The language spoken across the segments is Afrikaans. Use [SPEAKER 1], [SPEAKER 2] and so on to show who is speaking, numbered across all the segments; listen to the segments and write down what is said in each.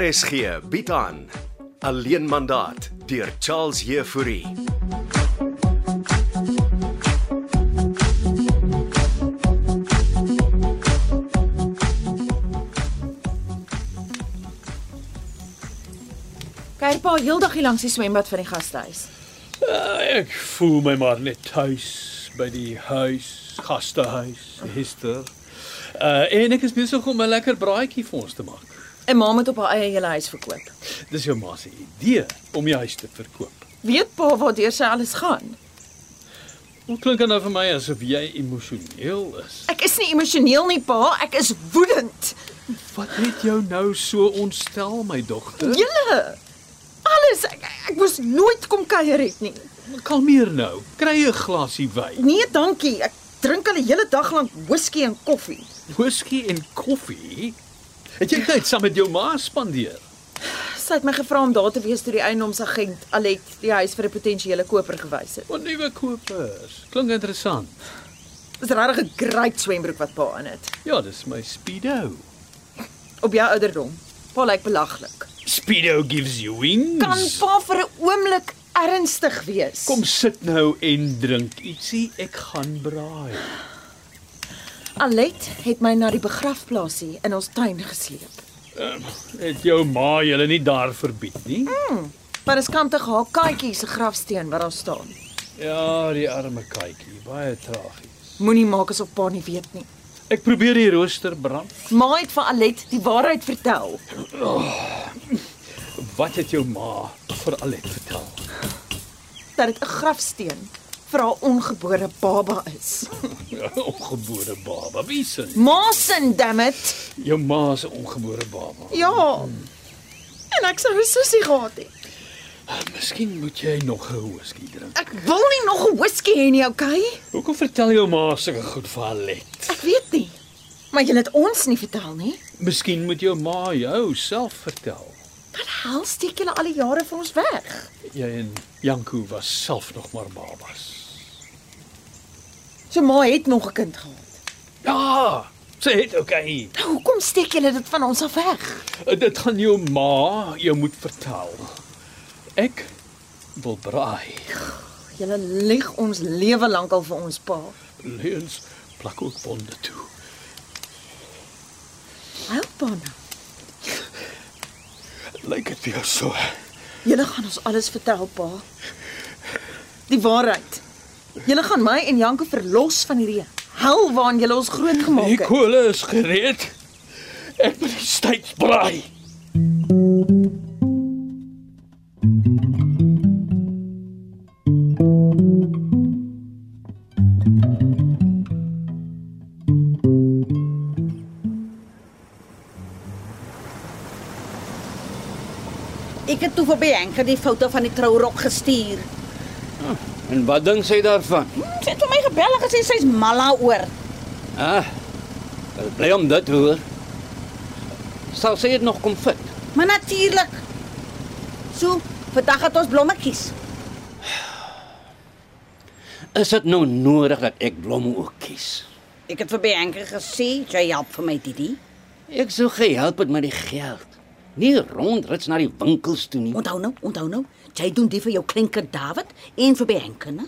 [SPEAKER 1] RSG bied aan Alleen mandaat deur Charles Heffouri.
[SPEAKER 2] Kuier pa heeldag hier langs die swembad van die gastehuis.
[SPEAKER 3] Ah, Ek voel my maar net tuis by die huis, gastehuis, Hester. Uh en ek is besig om 'n lekker braaitjie vir ons te maak.
[SPEAKER 2] 'n Ma moet op haar eie hele huis verkoop.
[SPEAKER 3] Dis jou ma se idee om jou huis te verkoop.
[SPEAKER 2] Weet pa waartoe sy alles gaan?
[SPEAKER 3] Hoe klink dit nou vir my asof jy emosioneel is?
[SPEAKER 2] Ek is nie emosioneel nie, pa, ek is woedend.
[SPEAKER 3] Wat het jou nou so ontstel, my dogter?
[SPEAKER 2] Julle. Alles ek, ek moes nooit kom kuier het nie.
[SPEAKER 3] Kalmeer nou. Kry 'n glasie wyn.
[SPEAKER 2] Nee, dankie. Ek drink al die hele dag lank whisky en koffie.
[SPEAKER 3] Whisky en koffie. Het jy tyd saam met jou ma spandeer?
[SPEAKER 2] Sy het my gevra om daar te wees toe die eienaarsagent Alet die huis vir 'n potensiële koper gewys het.
[SPEAKER 3] Wat nuwe kopers. Klink interessant.
[SPEAKER 2] Dis regtig 'n great swembroek wat pa aan het.
[SPEAKER 3] Ja, dis my speedo.
[SPEAKER 2] Op jou ouderdom. Pa lyk belaglik.
[SPEAKER 3] Speedo gives you wings.
[SPEAKER 2] Kan pa vir 'n oomblik ernstig wees?
[SPEAKER 3] Kom sit nou en drink ietsie, ek gaan braai.
[SPEAKER 2] Alet het my na die begrafplaasie in ons tuin gesleep.
[SPEAKER 3] Het jou ma julle nie daar verbied nie?
[SPEAKER 2] Maar is kantig haar katjie se grafsteen wat daar staan.
[SPEAKER 3] Ja, die arme katjie, baie tragies.
[SPEAKER 2] Moenie maak asof pa nie weet nie.
[SPEAKER 3] Ek probeer die rooster brand.
[SPEAKER 2] Ma het vir Alet die waarheid vertel.
[SPEAKER 3] Wat het jou ma vir Alet vertel?
[SPEAKER 2] dat dit 'n grafsteen vir haar ongebore baba is.
[SPEAKER 3] ongebore baba. Wie sê?
[SPEAKER 2] Ma sin dammit.
[SPEAKER 3] Jou ma se ongebore baba.
[SPEAKER 2] Ja. En ek sou 'n sussie gehad het.
[SPEAKER 3] Miskien moet jy nog 'n whisky drink.
[SPEAKER 2] Ek wil nie nog 'n whisky hê nie, okay?
[SPEAKER 3] Hoekom vertel jou ma sulke goed vir Alet?
[SPEAKER 2] Ek weet nie. Maar jy het ons nie vertel nie.
[SPEAKER 3] Miskien moet jou ma jou self vertel.
[SPEAKER 2] Wat hel steek julle al die jare vir ons weg?
[SPEAKER 3] Jy Ja, en Janku was self nog maar babas.
[SPEAKER 2] So ma het nog 'n kind gehad.
[SPEAKER 3] Ja, sê dit okay.
[SPEAKER 2] Nou hoekom steek julle dit van ons af weg?
[SPEAKER 3] Eh, Dit gaan jou ma jou moet vertel. Ek wil braai.
[SPEAKER 2] Julle lieg ons lewe lank al vir ons pa.
[SPEAKER 3] Leuns plak ook bonde toe.
[SPEAKER 2] Help pa nou.
[SPEAKER 3] Lyk dit vir jou so?
[SPEAKER 2] Julle gaan ons alles vertel, pa. Die waarheid. Julle gaan my en Janko verlos van hierdie hel waarin julle ons grootgemaak
[SPEAKER 3] Die
[SPEAKER 2] het.
[SPEAKER 3] kolle is gereed. Ek moet die steak braai.
[SPEAKER 4] Ek het toe vir Bianca die foto van die trourok gestuur.
[SPEAKER 5] En wat dink sy daarvan?
[SPEAKER 4] Hm, sy het vir my gebel en gesê sy's mal daaroor.
[SPEAKER 5] Ah. wel Bly om dit te hoor. Sal sy dit nog kom vat?
[SPEAKER 4] Maar natuurlik. So, vandag het ons blommetjies.
[SPEAKER 5] Is dit nou nodig dat ek blomme ook kies?
[SPEAKER 4] Ek het vir Bianca gesê jy help vir my Didi.
[SPEAKER 5] Ek sou gehelp het met die geld. Nie rondrits na die winkels toe nie.
[SPEAKER 4] Onthou nou, onthou nou, jy doen dit vir jou klinker David en vir Bianca, né?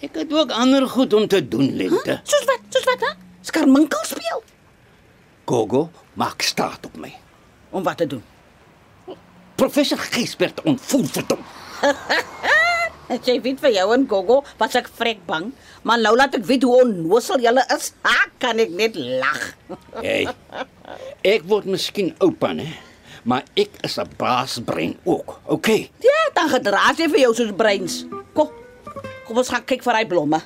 [SPEAKER 5] Ek het ook ander goed om te doen,
[SPEAKER 4] Huh?
[SPEAKER 5] Lente.
[SPEAKER 4] Soos wat, soos wat, hè? Skarminkel speel
[SPEAKER 5] Gogo maak staat op my.
[SPEAKER 4] om wat te doen.
[SPEAKER 5] Professor Giesbert ontvoer verdom.
[SPEAKER 4] Het jy weet vir jou en Gogo was ek vrek bang, maar nou laat ek weet hoe onnosel julle is. Ha, kan ek net lag.
[SPEAKER 5] Hey. Ek word miskien oupa, hè, maar ek is 'n baasbrein ook. Okay.
[SPEAKER 4] Ja, dan gedra jy vir jou soos breins. Kom. Kom ons gaan kyk vir daai blomme.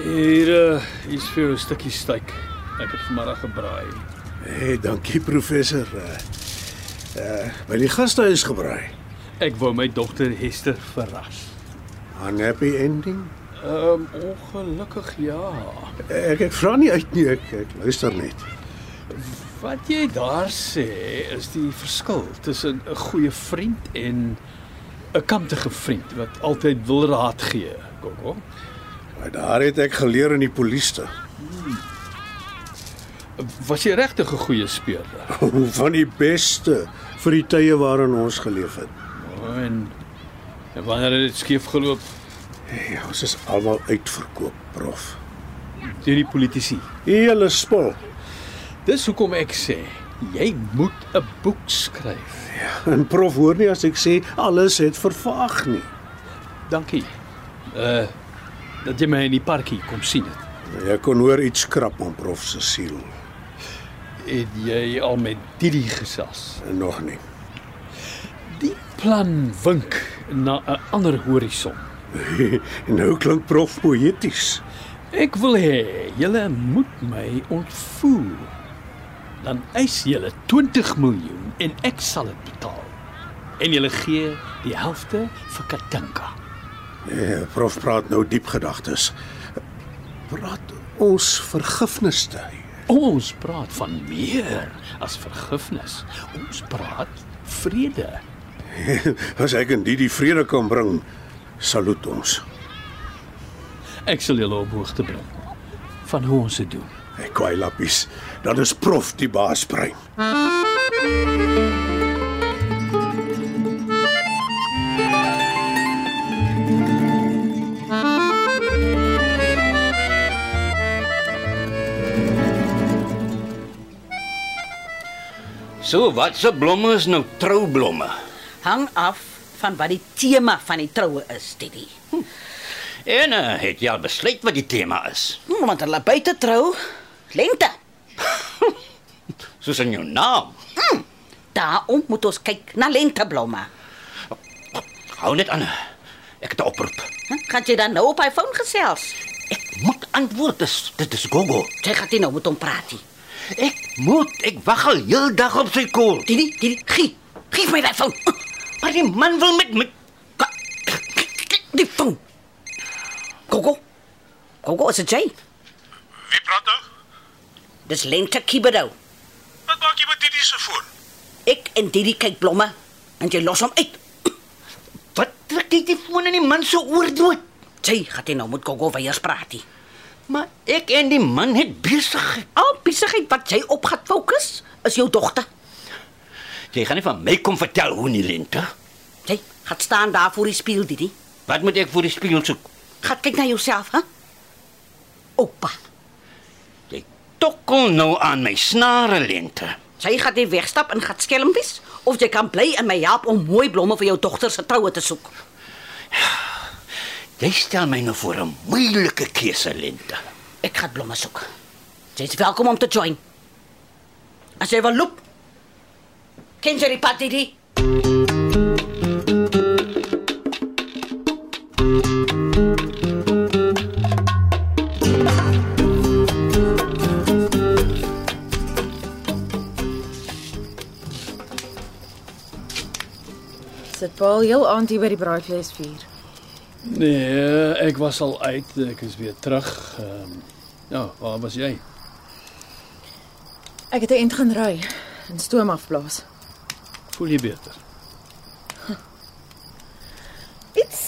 [SPEAKER 3] Hier uh, is vir jou 'n stukkie steak. Ek het vanmiddag gebraai.
[SPEAKER 6] Hey, dankie professor. Eh uh, uh, by die gastehuis gebraai.
[SPEAKER 3] Ek wou my dogter Hester verras.
[SPEAKER 6] 'n Happy ending.
[SPEAKER 3] Ehm um, ongelukkig ja.
[SPEAKER 6] Ek ek vra nie uit nie, ek, ek luister net.
[SPEAKER 3] Wat jy daar sê is die verskil tussen 'n goeie vriend en 'n kantige vriend wat altyd wil raad gee, Gogo.
[SPEAKER 6] Maar daar het ek geleer in die polisie.
[SPEAKER 3] Was jy regtig 'n goeie speurder?
[SPEAKER 6] Van die beste vir die tye waarin ons geleef het.
[SPEAKER 3] O, En, en wanneer het dit skeef geloop
[SPEAKER 6] Hey, ons is almal uitverkoop, prof.
[SPEAKER 3] deur die politici?
[SPEAKER 6] Hele spul.
[SPEAKER 3] Dis hoekom ek sê, jy moet 'n boek skryf.
[SPEAKER 6] En prof hoor nie as ek sê alles het vervaag nie.
[SPEAKER 3] Dankie. Uh dat jy my in die parkie kom sien het.
[SPEAKER 6] Jy kon hoor iets skrap aan prof se siel.
[SPEAKER 3] Het jy al met Didi gesels?
[SPEAKER 6] En nog nie.
[SPEAKER 3] Die plan wink na 'n ander horison.
[SPEAKER 6] en nou klink prof poëties.
[SPEAKER 3] Ek wil hê julle moet my ontvoer. Dan eis julle 20 miljoen en ek sal dit betaal. En julle gee die helfte vir Katinka.
[SPEAKER 6] Ja, prof praat nou diep gedagtes. Praat ons vergifnis te.
[SPEAKER 3] Ons praat van meer as vergifnis. Ons praat vrede.
[SPEAKER 6] As ek en die die vrede kan bring, salut ons.
[SPEAKER 3] Ek sal julle op hoogte bring van hoe ons dit doen.
[SPEAKER 6] Ek kwaai lappies. Dan is prof die baasbrein.
[SPEAKER 5] So wat se blomme is nou troublomme?
[SPEAKER 4] Hang af van wat die tema van die troue is, Didi.
[SPEAKER 5] En uh, het jy al besluit wat die tema is?
[SPEAKER 4] Hm, want hulle buite trou, lente.
[SPEAKER 5] Soos in jou naam.
[SPEAKER 4] Daarom moet ons kyk na lenteblomme.
[SPEAKER 5] Hou net aan. Ek het 'n oproep.
[SPEAKER 4] Hm? Gaan jy dan nou op hy foon gesels?
[SPEAKER 5] Ek moet antwoord. Dis dit is Gogo.
[SPEAKER 4] Jy gaan nie nou met hom praat nie.
[SPEAKER 5] Ek moet. Ek wag al heeldag op sy kol.
[SPEAKER 4] Didi, Didi, gee. Geef my daai foon.
[SPEAKER 5] Maar die man wil met my
[SPEAKER 4] Ka- Die foon. Gogo. Gogo, is dit jy?
[SPEAKER 6] Wie praat nou?
[SPEAKER 4] Dis lente Kibedou.
[SPEAKER 6] Wat maak jy met Didi se foon?
[SPEAKER 4] Ek en Didi kyk blomme en jy los hom uit.
[SPEAKER 5] Wat trek jy die foon in die man se oor dood?
[SPEAKER 4] Jy gaan nie nou met Gogo weer praat nie.
[SPEAKER 5] Maar ek en die man het besigheid.
[SPEAKER 4] Al besigheid wat jy op gaan fokus is jou dogter.
[SPEAKER 5] Jy gaan nie van my kom vertel hoe nie, Lente.
[SPEAKER 4] Jy gaan staan daar voor die spieël, Didi.
[SPEAKER 5] Wat moet ek voor die spieël soek?
[SPEAKER 4] Gaan kyk na jouself, hè? Oupa,
[SPEAKER 5] Jy tokkel nou aan my snare, Lente.
[SPEAKER 4] jy gaan nie wegstap en gaan skelm wees of jy kan bly in my help om mooi blomme vir jou dogter se troue te soek.
[SPEAKER 5] Jy stel my nou voor 'n moeilike keuse, Lente.
[SPEAKER 4] Ek gaan blomme soek. Jy's welkom om te join. As jy wil loop, ken jy die pad, Didi?
[SPEAKER 7] Sit Paul heel aand hier by die braaivleisvuur.
[SPEAKER 3] Nee, ek was al uit. Ek is weer terug. Ehm um, ja, waar was jy?
[SPEAKER 7] Ek het 'n end gaan ry en stoom afblaas.
[SPEAKER 3] Voel jy beter?
[SPEAKER 7] Iets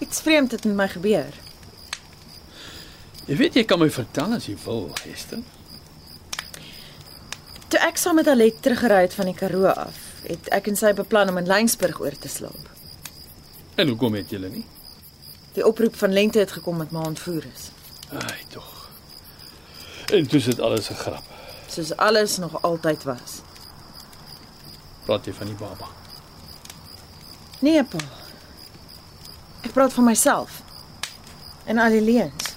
[SPEAKER 7] iets vreemd het met my gebeur.
[SPEAKER 3] Jy weet jy kan my vertel as jy wil, Hester.
[SPEAKER 7] Toe ek saam met Alet teruggery het van die Karoo af, het ek en sy beplan om in Lensburg oor te slaap.
[SPEAKER 3] En hoekom het julle nie?
[SPEAKER 7] Die oproep van Lente het gekom met ma ontvoer is.
[SPEAKER 3] Ai, tog. En dis dit alles 'n grap.
[SPEAKER 7] Soos alles nog altyd was.
[SPEAKER 3] Praat jy van die baba?
[SPEAKER 7] Nee, Paul. Ek praat van myself en al die leuns.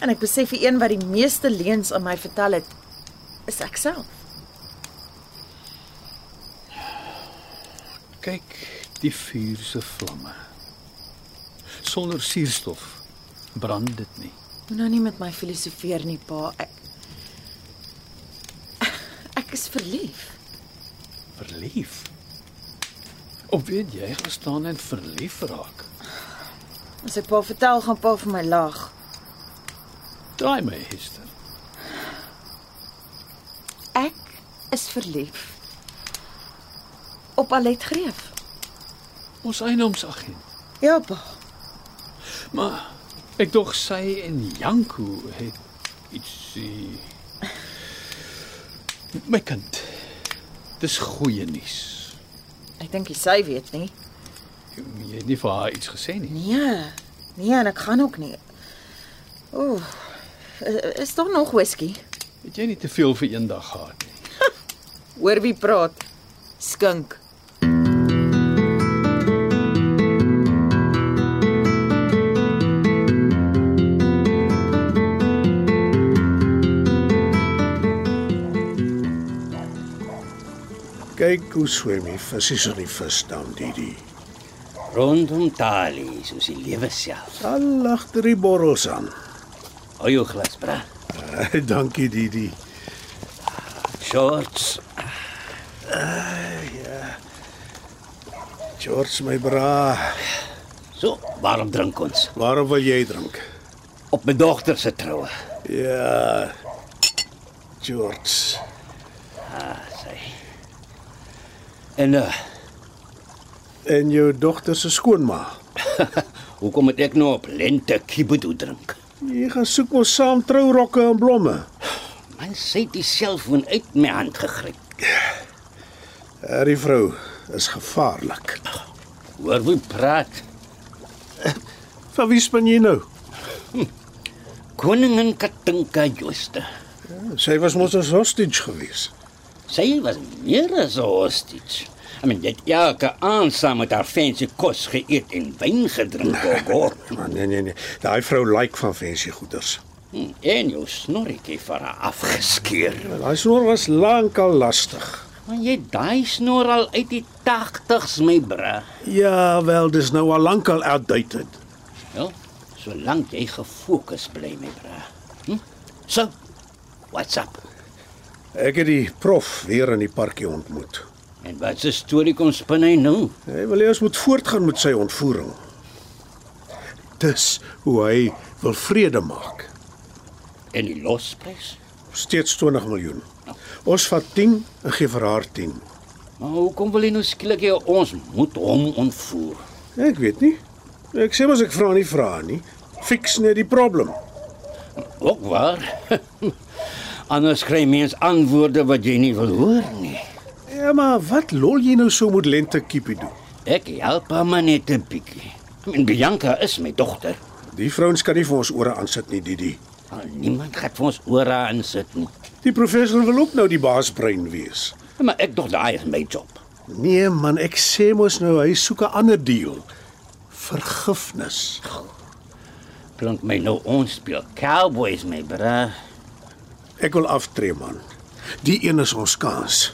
[SPEAKER 7] En ek besef die een wat die meeste leuns aan my vertel het, is ek self.
[SPEAKER 3] Kyk, die vuur se vlamme. Sonder suurstof brand dit nie.
[SPEAKER 7] Moet nou nie met my filosofeer nie, pa. Ek Ek is verlief.
[SPEAKER 3] Verlief. Of weet jy, jy gaan staan en verlief raak.
[SPEAKER 7] As ek pa vertel, gaan pa vir my lag.
[SPEAKER 3] Daai my Hester.
[SPEAKER 7] is verlief op Alet Greef.
[SPEAKER 3] Ons eiendomsagent.
[SPEAKER 7] Ja, pa.
[SPEAKER 3] Maar ek dog sy en Janko het ietsie my kind. Dis goeie nuus.
[SPEAKER 7] Ek dink jy sy weet nie.
[SPEAKER 3] Jy het nie vir haar iets gesê nie.
[SPEAKER 7] Nee. Nee, en ek gaan ook nie. Ooh. Eh, Is daar nog whisky?
[SPEAKER 3] Het jy nie te veel vir eendag gehad nie?
[SPEAKER 7] Hoor wie praat? Skink.
[SPEAKER 6] Kyk hoe swem die visse in die visdam, Didi.
[SPEAKER 5] Rondom Tali, soos die lewe self.
[SPEAKER 6] Al lag drie borrels aan. Eh,
[SPEAKER 5] Hou jou glas, bra.
[SPEAKER 6] Dankie, Didi.
[SPEAKER 5] Shorts.
[SPEAKER 6] George, my bra,
[SPEAKER 5] So, waarom drink ons?
[SPEAKER 6] waarom wil jy drink?
[SPEAKER 5] Op my dogter se troue.
[SPEAKER 6] Ja. George.
[SPEAKER 5] Sy. En uh,
[SPEAKER 6] En jou dogter se skoonma.
[SPEAKER 5] eh, hoekom moet ek nou op lente kibudu drink?
[SPEAKER 6] Jy gaan soek mos saam trourokke en blomme.
[SPEAKER 5] Man, sy het die selfoon uit my hand gegryp.
[SPEAKER 6] Hierdie vrou is gevaarlik.
[SPEAKER 5] Hoor hoe praat.
[SPEAKER 6] Van wie span jy nou?
[SPEAKER 5] Koningin Katinka Jooste.
[SPEAKER 6] Sy was mos 'n hostage gewees.
[SPEAKER 5] Sy was meer as 'n hostage. I mean, dit elke aand saam met haar fancy kos geëet en wyn gedrink, gogo.
[SPEAKER 6] Maar nee nee nee, daai vrou lyk like van fancy goeders.
[SPEAKER 5] Hm, En jou snorretjie vir haar afgeskeer.
[SPEAKER 6] En Daai snor was lankal lastig.
[SPEAKER 5] Want jy het daai snor al uit die 80's, my bra.
[SPEAKER 6] Ja, wel, dis nou al lankal outdated.
[SPEAKER 5] Ja, solank jy gefokus bly, my bra. Hm? So, what's up?
[SPEAKER 6] Ek het die prof weer in die parkie ontmoet.
[SPEAKER 5] En wat se storie kom spin hy nou?
[SPEAKER 6] Hy wil hê ons moet voortgaan met sy ontvoering. Dis hoe hy wil vrede maak.
[SPEAKER 5] En die losprys?
[SPEAKER 6] Steeds 20 miljoen. Ons vat 10 en gee vir haar 10.
[SPEAKER 5] Maar hoekom wil jy nou skielik hê ons moet hom ontvoer?
[SPEAKER 6] Nee, Ek weet nie. Ek sê mos ek vra nie vra nie. Fix net die probleem.
[SPEAKER 5] Ook waar. Anders kry mens antwoorde wat jy nie wil hoor nie.
[SPEAKER 6] Ja, maar wat lol jy nou so met lente kiepie doen?
[SPEAKER 5] Ek help haar maar net 'n bietjie. En Bianca is my dogter.
[SPEAKER 6] Die vrouens kan nie vir ons ore aansit nie, Didi.
[SPEAKER 5] Maar niemand gaan vir ons ore insit nie. Ja,
[SPEAKER 6] Die professor wil ook nou die baasbrein wees.
[SPEAKER 5] Maar ek dog daai is my job.
[SPEAKER 6] Nee man, ek sê mos nou hy soek 'n ander deal. Vergifnis.
[SPEAKER 5] Klink my nou ons speel cowboys my bra.
[SPEAKER 6] Ek wil aftree man. Die een is ons kans.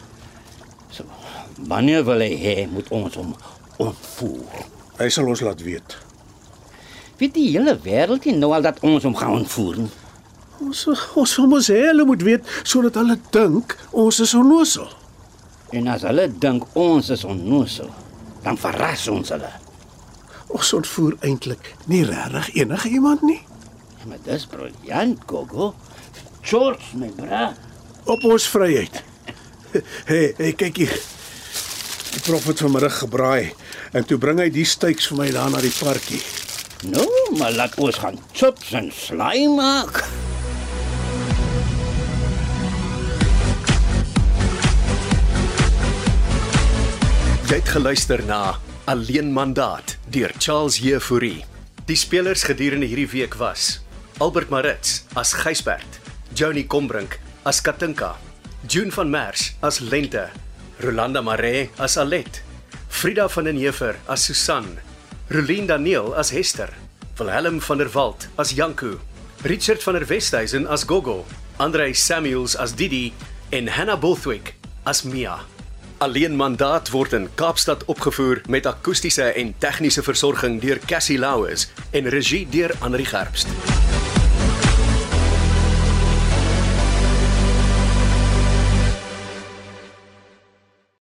[SPEAKER 5] So, wanneer wil hy hê moet ons hom ontvoer?
[SPEAKER 6] Hy sal ons laat weet.
[SPEAKER 5] Weet die hele wêreld nie nou al dat ons hom gaan ontvoer nie.
[SPEAKER 6] Ons ons wil mos hê hulle moet weet sodat hulle dink ons is onnosel.
[SPEAKER 5] En as hulle dink ons is onnosel, dan verras ons hulle.
[SPEAKER 6] Ons ontvoer eintlik nie regtig enige iemand nie.
[SPEAKER 5] Ja, Maar dis briljant, Gogo. George, my bra.
[SPEAKER 6] op ons vryheid. Hey, hey, kyk hier. Die prof het vanmiddag gebraai en toe bring hy die steaks vir my daar na die parkie.
[SPEAKER 5] Nou, maar laat ons gaan chips en slaai maak.
[SPEAKER 1] Jy het geluister na Alleen Mandaat deur Charles Jefouri. Die spelers gedurende hierdie week was Albert Maritz as Gysbert, Johnny Combrink as Katinka, June van Merwe as Lente, Rolanda Maree as Alet, Frida van den Heever as Susan, Rolien Daniel as Hester, Wilhelm van der Walt as Janku, Richard van der Westhuizen as Gogo, Andrei Samuels as Didi en Hannah Bothwick as Mia. Alleen mandaat word in Kaapstad opgevoer met akoestiese en tegniese versorging deur Cassie Louws en regie deur Anri Gerbst.